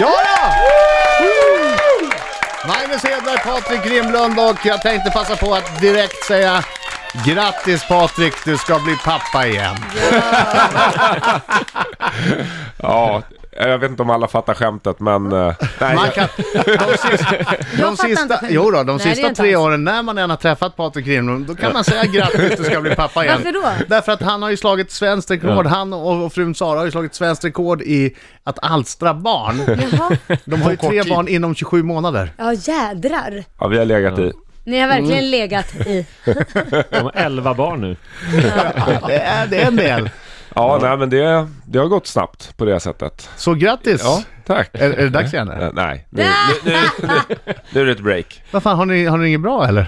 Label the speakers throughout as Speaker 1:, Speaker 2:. Speaker 1: Ja! Magnus Hedberg, Patrik Grimlund och jag tänkte passa på att direkt säga Grattis Patrik, du ska bli pappa igen.
Speaker 2: Ja, jag vet inte om alla fattar skämtet men... eh, Nej,
Speaker 1: Man kan, de sista, de
Speaker 3: fattar inte
Speaker 1: sista,
Speaker 3: skämtet.
Speaker 1: jo då, de
Speaker 3: Nej, det är
Speaker 1: sista
Speaker 3: inte
Speaker 1: tre
Speaker 3: alls.
Speaker 1: åren när man än har träffat Patrik Grimlund, då kan man säga grattis, du ska bli pappa igen.
Speaker 3: Varför då?
Speaker 1: Därför att han har ju slagit svenskt rekord, han och, och frun Sara har ju slagit svenskt rekord i att alstra barn.
Speaker 3: Jaha.
Speaker 1: De har ju
Speaker 4: På kort
Speaker 1: tre
Speaker 4: tid.
Speaker 1: barn inom 27 månader.
Speaker 3: Ja, jädrar.
Speaker 2: ja, vi har legat i.
Speaker 3: Ni har verkligen legat i.
Speaker 5: De har elva barn nu.
Speaker 1: Det är, det är en del.
Speaker 2: Ja, nej men det, det har gått snabbt på det sättet.
Speaker 1: Så grattis!
Speaker 2: Ja, tack.
Speaker 1: Är, är det dags igen? eller?
Speaker 2: Eh, Nej, nu, nu, nu, nu, nu är det ett break.
Speaker 1: Vad fan, har ni, har ni inget bra eller?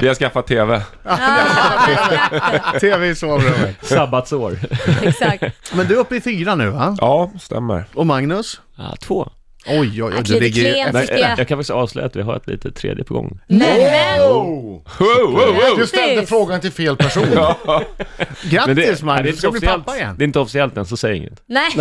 Speaker 2: Vi har skaffat TV.
Speaker 3: Ah, Ja, exakt.
Speaker 1: Tv i sovrummet.
Speaker 5: Sabbatsår.
Speaker 3: exakt.
Speaker 1: Men du är uppe i fyra nu va?
Speaker 2: Ja, stämmer.
Speaker 1: Och Magnus?
Speaker 5: Ja, två.
Speaker 1: Oj, oj, oj.
Speaker 3: Jag kliver klent
Speaker 5: Nej,
Speaker 3: fick
Speaker 5: jag
Speaker 3: jag.
Speaker 5: kan faktiskt avslöja att vi har ett litet tredje på gång.
Speaker 3: Nej, men
Speaker 4: Oh.
Speaker 2: Wow, wow, wow.
Speaker 4: Du ställde
Speaker 3: Precis.
Speaker 4: frågan till fel person.
Speaker 5: Men det-
Speaker 1: Grattis
Speaker 5: nej, det är
Speaker 1: Magnus,
Speaker 5: inte
Speaker 1: du ska bli
Speaker 5: officiellt.
Speaker 1: pappa igen.
Speaker 5: Det är inte officiellt än, så säg inget.
Speaker 3: Nej,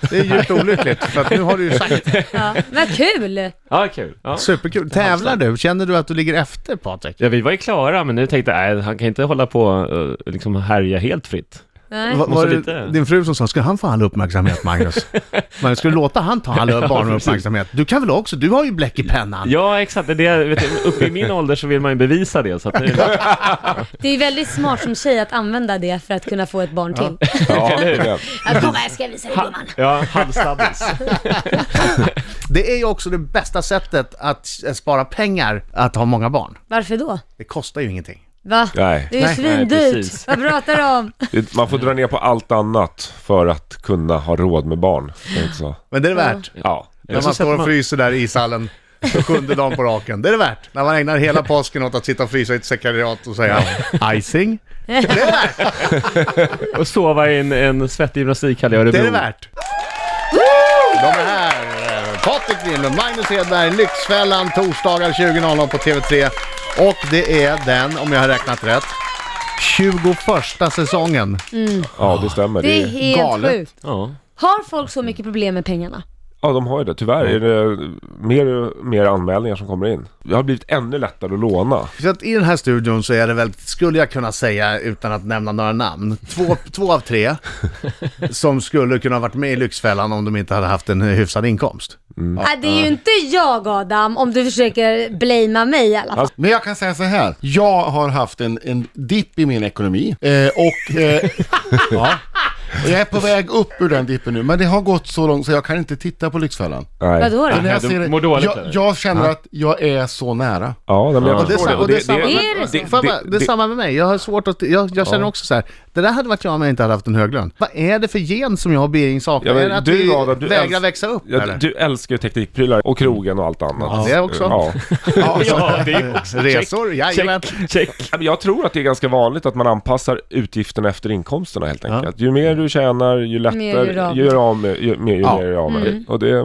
Speaker 1: Det är djupt olyckligt, för att nu har du ju sagt
Speaker 3: ja. vad kul!
Speaker 5: Ja, kul. Ja.
Speaker 1: Superkul. Tävlar du? Känner du att du ligger efter Patrik?
Speaker 5: Ja, vi var ju klara, men nu tänkte jag, nej, han kan inte hålla på och liksom härja helt fritt.
Speaker 3: Nej.
Speaker 1: Va- var
Speaker 5: Måste
Speaker 1: det
Speaker 5: lite.
Speaker 1: din fru som sa, ska han få all uppmärksamhet Magnus? Magnus, ska du låta han ta all barnuppmärksamhet? Du kan väl också? Du har ju bläck i pennan.
Speaker 5: Ja, exakt. Det är, det jag- vet du, uppe i min ålder så vill man ju bevisa det, så att det,
Speaker 3: Det är väldigt smart som tjej att använda det för att kunna få ett barn till.
Speaker 2: Ja, det-
Speaker 3: Ja. Kolla, jag ska visa dig gumman.
Speaker 5: ja, halvstabbis.
Speaker 1: Det är ju också det bästa sättet att s- spara pengar, att ha många barn.
Speaker 3: Varför då?
Speaker 1: Det kostar ju ingenting.
Speaker 3: Va?
Speaker 2: Nej.
Speaker 3: Det är ju
Speaker 5: Nej,
Speaker 3: svindyrt.
Speaker 5: precis.
Speaker 3: Vad pratar du om?
Speaker 2: det- Man får dra ner på allt annat för att kunna ha råd med barn. Det är inte Så.
Speaker 1: Men det är det värt.
Speaker 2: Ja.
Speaker 1: När
Speaker 5: så
Speaker 1: man
Speaker 5: sätter
Speaker 1: står och
Speaker 5: man-
Speaker 1: fryser där i ishallen för sjunde dagen på raken. Det är det värt. När man ägnar hela påsken åt att sitta och frysa i ett sekretariat och säga icing.
Speaker 5: Och sova i en, en svettig gymnastikhall i Örebro.
Speaker 1: Det är det värt. De är här. eh, Patrik Grimlund, Magnus Hedberg, Lyxfällan, torsdagar 20.00 på TV3. Och det är den, om jag har räknat rätt, 21 säsongen.
Speaker 2: ja, det stämmer.
Speaker 3: Det
Speaker 2: Det
Speaker 3: är
Speaker 2: är...
Speaker 3: helt
Speaker 1: galet.
Speaker 3: sjukt.
Speaker 5: Ja.
Speaker 3: Har folk så mycket problem med pengarna?
Speaker 2: Ja, de har ju det. Tyvärr är det mer och mer anmälningar som kommer in. Det har blivit ännu lättare att låna.
Speaker 1: Så att i den här studion så är det väl, skulle jag kunna säga utan att nämna några namn, två, två av tre som skulle kunna ha varit med i Lyxfällan om de inte hade haft en hyfsad inkomst.
Speaker 3: Nej, Äh, det är ju inte jag Adam, om du försöker blamea mig i alla fall.
Speaker 4: Men jag kan säga så här. Jag har haft en, en dipp i min ekonomi. Eh, och, eh, ja. och jag är på väg upp ur den dippen nu. Men det har gått så långt så jag kan inte titta på Lyxfällan.
Speaker 2: Nej.
Speaker 3: Vadå då?
Speaker 4: Men när jag
Speaker 5: du
Speaker 4: ser det-
Speaker 5: mår dåligt,
Speaker 4: jag,
Speaker 5: eller?
Speaker 4: jag känner att jag är så nära.
Speaker 2: Ja, nej, men jag
Speaker 5: Ja.
Speaker 2: förstår
Speaker 1: Och det är samma-
Speaker 3: Är det så?
Speaker 1: Får jag bara, det är samma med mig, jag har svårt att, jag, jag känner också så här. det där hade varit jag om jag inte hade haft en hög lön. Vad är det för gen som jag och Bering saknar?
Speaker 2: Ja, men
Speaker 1: är det att
Speaker 2: du,
Speaker 1: vi
Speaker 2: Adam, du
Speaker 1: vägrar
Speaker 2: älsk-
Speaker 1: växa upp
Speaker 2: Ja,
Speaker 1: eller?
Speaker 2: du älskar ju teknikprylar och krogen och allt annat.
Speaker 1: Ja, det också.
Speaker 2: Ja.
Speaker 5: Ja, det är också...
Speaker 1: Resor, jajamän.
Speaker 5: Check, check.
Speaker 2: Ja, men Jag tror att det är ganska vanligt att man anpassar utgifterna efter inkomsterna helt enkelt. Ju mer du tjänar, ju
Speaker 3: Mer gör du
Speaker 2: lättare
Speaker 3: av
Speaker 2: ju gör du av med, ju mer, ju
Speaker 4: Ja.
Speaker 2: mer gör du av med.
Speaker 1: Mm.
Speaker 2: Och det, det är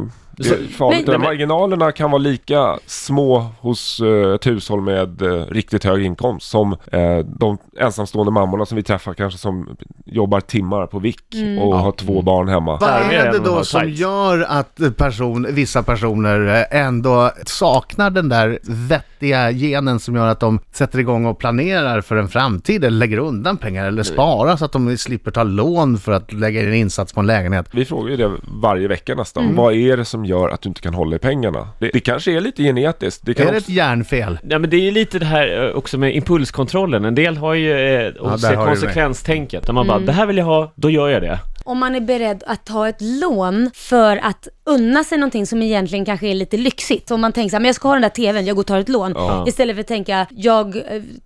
Speaker 3: Men-
Speaker 2: farligt. Men,
Speaker 3: men-
Speaker 2: Marginalerna kan vara lika små hos eh, ett hushåll med eh, riktigt hög inkomst som eh, de ensamstående mammorna som vi träffar kanske som jobbar timmar på vick
Speaker 1: Mm.
Speaker 2: och har två barn hemma.
Speaker 1: Vad
Speaker 5: Där
Speaker 1: är
Speaker 5: med
Speaker 1: det
Speaker 5: en och
Speaker 1: då
Speaker 5: har
Speaker 1: som
Speaker 5: tights.
Speaker 1: gör att eh, person, vissa personer eh, ändå saknar den där vettiga genen som gör att de sätter igång och planerar för en framtid eller lägger undan pengar eller sparar så att de slipper ta lån för att lägga in en insats på en lägenhet?
Speaker 2: Vi frågar ju det varje vecka nästan. Vad är det som gör att du inte kan hålla i pengarna? Det, det kanske är lite genetiskt. Det kan
Speaker 1: Är det
Speaker 2: också-
Speaker 1: ett hjärnfel?
Speaker 5: Nej men det är ju lite det här eh, också med impulskontrollen. En del har ju eh, och
Speaker 1: där har
Speaker 5: ser
Speaker 1: du mig.
Speaker 5: konsekvenstänket. När man bara, det här vill jag ha, då gör jag det.
Speaker 3: Om man är beredd att ta ett lån för att unna sig någonting som egentligen kanske är lite lyxigt. Om man tänker så här, men jag ska ha den där TVn, jag går och tar ett lån. Istället för att tänka, jag eh,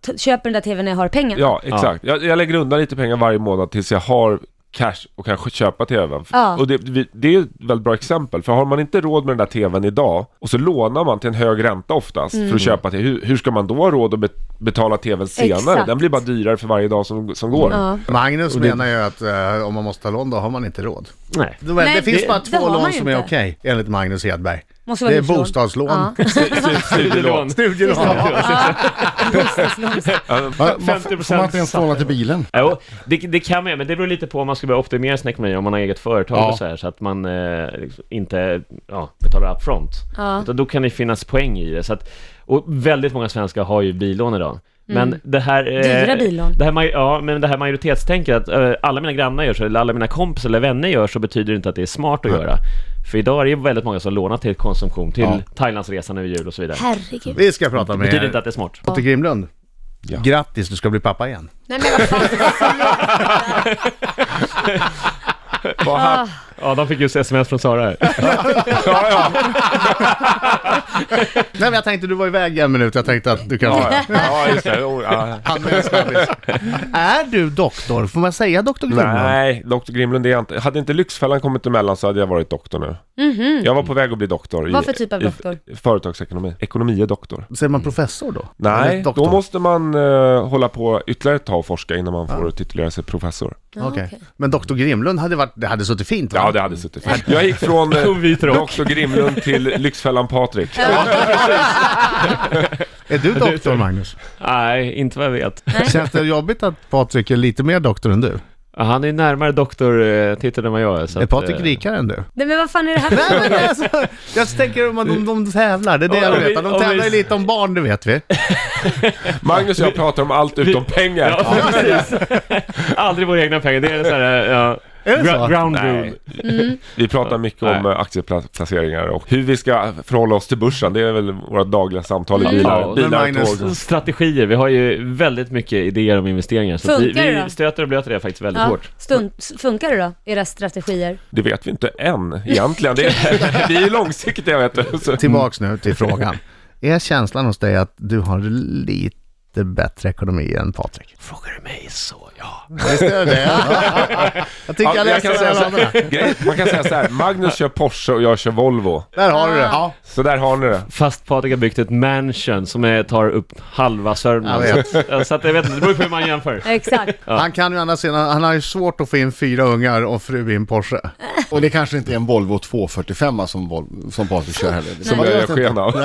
Speaker 3: t- köper den där TVn när jag har pengar.
Speaker 2: Ja, exakt. Jag, jag lägger undan lite pengar varje månad tills jag har cash och kan köpa TVn.
Speaker 3: Ja.
Speaker 2: Och det, vi- det är ju ett väldigt bra exempel. För har man inte råd med den där TVn idag och så lånar man till en hög ränta oftast för att köpa TV. Hur, hur ska man då ha råd att be, betala TVn senare?
Speaker 3: Exakt.
Speaker 2: Den blir bara dyrare för varje dag som, som går.
Speaker 3: Ja.
Speaker 1: Magnus menar ju att eh, om man måste ta lån då har man inte råd.
Speaker 5: Nej.
Speaker 1: Det, var-
Speaker 3: Nej,
Speaker 1: det finns
Speaker 3: det-
Speaker 1: bara
Speaker 3: det
Speaker 1: två
Speaker 3: har man
Speaker 1: lån
Speaker 3: ju
Speaker 1: som är
Speaker 3: inte.
Speaker 1: okej, enligt Magnus Hedberg.
Speaker 3: Måste vara
Speaker 1: Det är
Speaker 3: huslån.
Speaker 1: bostadslån.
Speaker 3: Ja.
Speaker 5: Studielån.
Speaker 1: Studielån.
Speaker 4: Ja, man får-
Speaker 5: 50%
Speaker 4: får man inte ens låna till bilen?
Speaker 5: Jo, det, det kan man göra, men det beror lite på om man ska börja optimera sin ekonomi, om man har eget företag
Speaker 4: Ja.
Speaker 5: och så här, så att man eh, liksom inte ja, betalar upfront.
Speaker 3: Ja.
Speaker 5: Utan då kan det finnas poäng i det. Så att, och väldigt många svenskar har ju billån idag. Men det här... eh,
Speaker 3: Mm. Dyra billån.
Speaker 5: Det här, maj- ja, men det här majoritetstänket att eh, alla mina grannar gör så, eller alla mina kompisar eller vänner gör så, betyder inte att det är smart att göra. För idag är det ju väldigt många som lånar till konsumtion, till
Speaker 4: Ja.
Speaker 5: Thailandsresan över jul och så vidare.
Speaker 3: Herregud.
Speaker 1: Vi ska prata
Speaker 5: Det betyder inte
Speaker 1: med
Speaker 5: att det är smart.
Speaker 1: Otte Grimlund.
Speaker 2: Ja.
Speaker 1: Grattis, du ska bli pappa igen.
Speaker 3: Nej men vad fan.
Speaker 2: Vad han,
Speaker 5: Ja, de fick just sms från Sara här.
Speaker 2: ja, ja.
Speaker 1: Nej men jag tänkte, du var iväg en minut, jag tänkte att du kan...
Speaker 2: Ja, ja. ja, just det. Oh, ja.
Speaker 1: Han är en snabbis. Är du doktor? Får man säga doktor Grimlund?
Speaker 2: Nej, Dr Grimlund det är jag inte. Hade inte Lyxfällan kommit emellan så hade jag varit doktor nu. Jag var på väg att bli doktor. i-
Speaker 3: Mhm. Vad för typ av
Speaker 2: i-
Speaker 3: doktor?
Speaker 2: Företagsekonomi. Ekonomi är doktor.
Speaker 1: Säger man professor då?
Speaker 2: Nej,
Speaker 1: Eller doktor?
Speaker 2: då måste man eh, hålla på ytterligare ett tag och forska innan man får titulera sig professor.
Speaker 3: Ja,
Speaker 1: Okej.
Speaker 3: okej.
Speaker 1: Men doktor Grimlund hade varit, det hade suttit fint va?
Speaker 2: Ja, det hade suttit fint. Jag gick från eh,
Speaker 5: Och vit rock.
Speaker 2: Dr Grimlund till Lyxfällan Patrik.
Speaker 1: Är du doktor Magnus?
Speaker 5: Nej, inte vad jag vet.
Speaker 1: Känns det jobbigt att Patrik är lite mer doktor än du?
Speaker 5: Ja, Han är ju närmare doktortiteln än vad jag är. Så
Speaker 1: Är
Speaker 5: att,
Speaker 1: Patrik
Speaker 5: eh,
Speaker 1: rikare än du?
Speaker 3: Nej men vad fan är det här för
Speaker 1: Nej men alltså, jag tänker om att de, de tävlar, det är det jag
Speaker 5: Om
Speaker 1: vill
Speaker 5: vi-
Speaker 1: veta. De
Speaker 5: om vi-
Speaker 1: tävlar ju lite om barn, det vet vi.
Speaker 2: Magnus och jag pratar om allt utom pengar.
Speaker 5: Ja, precis. Aldrig våra egna pengar. Det är en sån här, eh, ja,
Speaker 1: Är det så?
Speaker 5: gra- ground rule.
Speaker 2: Nej. Vi pratar mycket om
Speaker 5: Nej.
Speaker 2: eh, aktieplaceringar och hur vi ska förhålla oss till börsen. Det är väl våra dagliga samtal i
Speaker 5: Mm.
Speaker 2: bilar,
Speaker 5: Ja,
Speaker 2: bilar
Speaker 1: men
Speaker 2: och
Speaker 1: Magnus-
Speaker 2: tåg.
Speaker 5: Strategier. Vi har ju väldigt mycket idéer om investeringar. Så att vi,
Speaker 3: Funkar det
Speaker 5: vi
Speaker 3: då?
Speaker 5: stöter och blöter det faktiskt väldigt
Speaker 3: ja.
Speaker 5: hårt.
Speaker 3: Stund, s- Funkar det då? Era strategier?
Speaker 2: Det vet vi inte än egentligen. Det är, vi är långsiktiga vet du. Så.
Speaker 1: Tillbaks nu till frågan. Är känslan hos dig att du har lite bättre ekonomi än Patrik?
Speaker 5: Frågar du mig så, ja.
Speaker 1: Visst är det det? Jag tycker jag
Speaker 2: Ja, jag
Speaker 1: läste
Speaker 2: kan säga
Speaker 1: mellan
Speaker 2: så
Speaker 1: raderna.
Speaker 2: här, grej- man kan säga så här, Magnus kör Porsche och jag kör Volvo.
Speaker 1: Där har du det. Ja,
Speaker 2: Så där har ni det.
Speaker 5: Fast Patrik har byggt ett mansion som är, tar upp halva Sörmland.
Speaker 1: Jag
Speaker 5: Så, att jag vet inte, det beror på hur man jämför.
Speaker 3: Exakt.
Speaker 1: Han kan ju å andra sidan, han har ju svårt att få in fyra ungar och fru i en Porsche.
Speaker 4: Och det kanske inte är en Volvo 245 som, Vol- som Patrik kör heller. Det
Speaker 2: Som
Speaker 4: vet
Speaker 2: jag gör
Speaker 4: inte.
Speaker 2: sken av.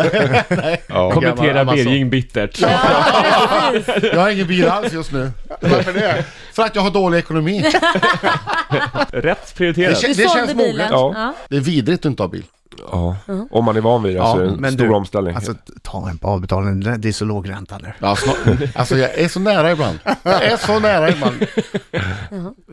Speaker 2: Ja.
Speaker 5: Kommentera
Speaker 1: Amazon.
Speaker 5: Birging bittert.
Speaker 3: Ja, precis.
Speaker 4: Jag har ingen bil alls just nu.
Speaker 1: Varför det?
Speaker 4: För att jag har dålig ekonomi.
Speaker 5: Rätt prioriterat.
Speaker 4: Det-
Speaker 3: Du
Speaker 4: det
Speaker 3: sålde
Speaker 4: känns moget.
Speaker 3: bilen.
Speaker 2: Ja.
Speaker 3: Ja.
Speaker 4: Det är vidrigt att inte ha bil.
Speaker 2: Ja. Om man är van vid det så är det en stor omställning.
Speaker 1: Alltså, ta en på avbetalning. Det det är så låg ränta nu.
Speaker 4: Ja, snar- alltså jag är så nära ibland. Jag är så nära ibland.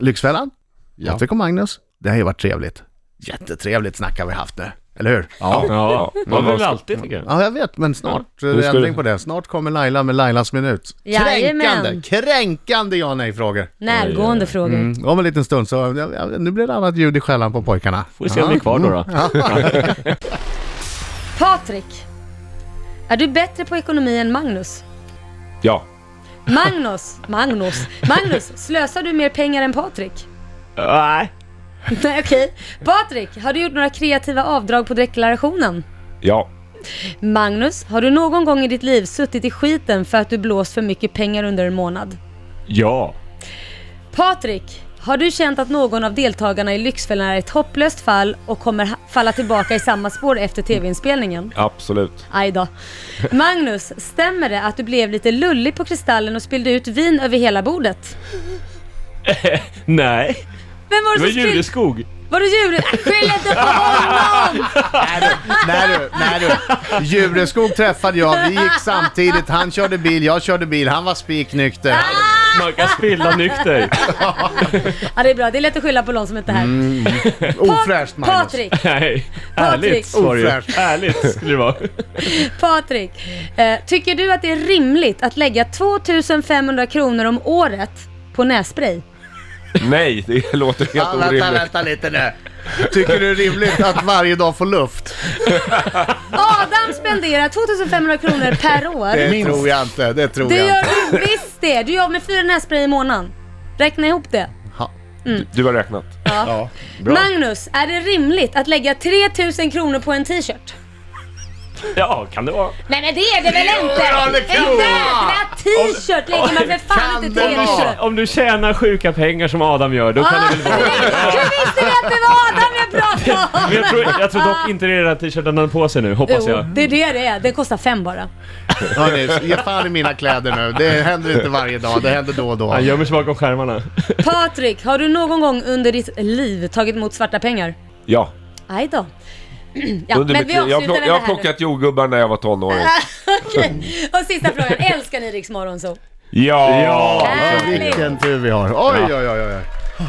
Speaker 1: Lyxfällan,
Speaker 4: Ja.
Speaker 1: Patrik och Magnus. Det har ju varit trevligt. Jättetrevligt snack har vi haft nu. Eller hur?
Speaker 4: Ja.
Speaker 5: Ja,
Speaker 2: Ja.
Speaker 5: man väl alltid tycker jag.
Speaker 1: Ja, jag vet, men snart ja. är det
Speaker 2: ska du-
Speaker 1: ändring på det. Snart kommer Laila med Lailas minut.
Speaker 3: Jajamän.
Speaker 1: Kränkande, kränkande ja nej-frågor.
Speaker 3: Närgående frågor.
Speaker 1: Mm. Om en liten stund så, ja, ja, nu blir det annat ljud i skällan på pojkarna.
Speaker 5: Får vi se om vi är kvar då. då.
Speaker 3: Patrik, är du bättre på ekonomi än Magnus?
Speaker 2: Ja.
Speaker 3: Magnus, Magnus, Magnus, slösar du mer pengar än Patrik?
Speaker 5: Nej.
Speaker 3: Nej okej. Patrik, har du gjort några kreativa avdrag på deklarationen?
Speaker 2: Ja.
Speaker 3: Magnus, har du någon gång i ditt liv suttit i skiten för att du blåst för mycket pengar under en månad?
Speaker 5: Ja.
Speaker 3: Patrik, har du känt att någon av deltagarna i Lyxfällan är ett hopplöst fall och kommer ha- falla tillbaka i samma spår efter tv-inspelningen?
Speaker 2: Absolut.
Speaker 3: Aj då. Magnus, stämmer det att du blev lite lullig på Kristallen och spillde ut vin över hela bordet?
Speaker 5: Nej.
Speaker 3: Vem var
Speaker 5: Det
Speaker 3: det
Speaker 5: var
Speaker 3: som spillde?
Speaker 5: Juleskog.
Speaker 3: Var det djuret? Skyll inte på honom!
Speaker 1: Nej du, nej du. Djureskog träffade jag, vi gick samtidigt. Han körde bil, jag körde bil, han var spiknykter.
Speaker 3: Ah,
Speaker 5: Man kan spilla nykter.
Speaker 3: Ja det är bra, det är lätt att skylla på någon som inte är här.
Speaker 1: Ofräscht Magnus.
Speaker 3: Patrik,
Speaker 5: Nej.
Speaker 3: Patrik.
Speaker 5: Ärligt var det ju.
Speaker 1: Ofräscht.
Speaker 5: Ärligt skulle det vara.
Speaker 3: Patrik. Eh, tycker du att det är rimligt att lägga 2500 kronor om året på nässpray?
Speaker 2: Nej, det låter helt
Speaker 1: Ja, vänta,
Speaker 2: orimligt.
Speaker 1: vänta lite nu. Tycker du det är rimligt att varje dag få luft?
Speaker 3: Adam spenderar 2500 kronor per år.
Speaker 1: Det tror jag inte. Det tror
Speaker 3: Det
Speaker 1: jag inte.
Speaker 3: gör du visst det! Du gör av med fyra nässpray i månaden. Räkna ihop det.
Speaker 2: Du har räknat.
Speaker 4: Ja.
Speaker 3: Magnus, är det rimligt att lägga 3000 kronor på en t-shirt?
Speaker 5: Ja, kan det vara.
Speaker 3: Nej men det är det väl inte?
Speaker 1: ja, det kan
Speaker 3: en
Speaker 1: vara.
Speaker 3: jädra t-shirt lägger man för fan
Speaker 1: Kan
Speaker 3: inte
Speaker 1: det
Speaker 3: till en
Speaker 1: vara?
Speaker 3: t-shirt.
Speaker 5: Om du tjänar sjuka pengar som Adam gör, då kan
Speaker 3: Ah,
Speaker 5: det väl vara...
Speaker 3: nej, Hur visste du att det var Adam jag
Speaker 5: Men jag tror, jag tror dock inte det är den här t-shirten han har på sig nu, hoppas
Speaker 3: Ah. Jo,
Speaker 5: jag.
Speaker 3: det är det det är. Det kostar fem bara.
Speaker 1: Hörni, ge fan i mina kläder nu. Det händer inte varje dag, det händer då och då.
Speaker 5: Han gömmer sig bakom skärmarna.
Speaker 3: Patrik, har du någon gång under ditt liv tagit emot svarta pengar?
Speaker 2: Ja.
Speaker 3: Aj då. Ja,
Speaker 2: Under
Speaker 3: men
Speaker 2: mitt
Speaker 3: vi
Speaker 2: liv. jag,
Speaker 3: avslutar
Speaker 2: plock,
Speaker 3: den
Speaker 2: jag har
Speaker 3: här nu.
Speaker 2: plockat jordgubbar när jag var tonåring.
Speaker 3: Okej. Och sista frågan. Älskar ni Riks Morgonzoo?
Speaker 2: Ja!
Speaker 1: Ja, vilken tur vi har. Oj, oj, oj, oj.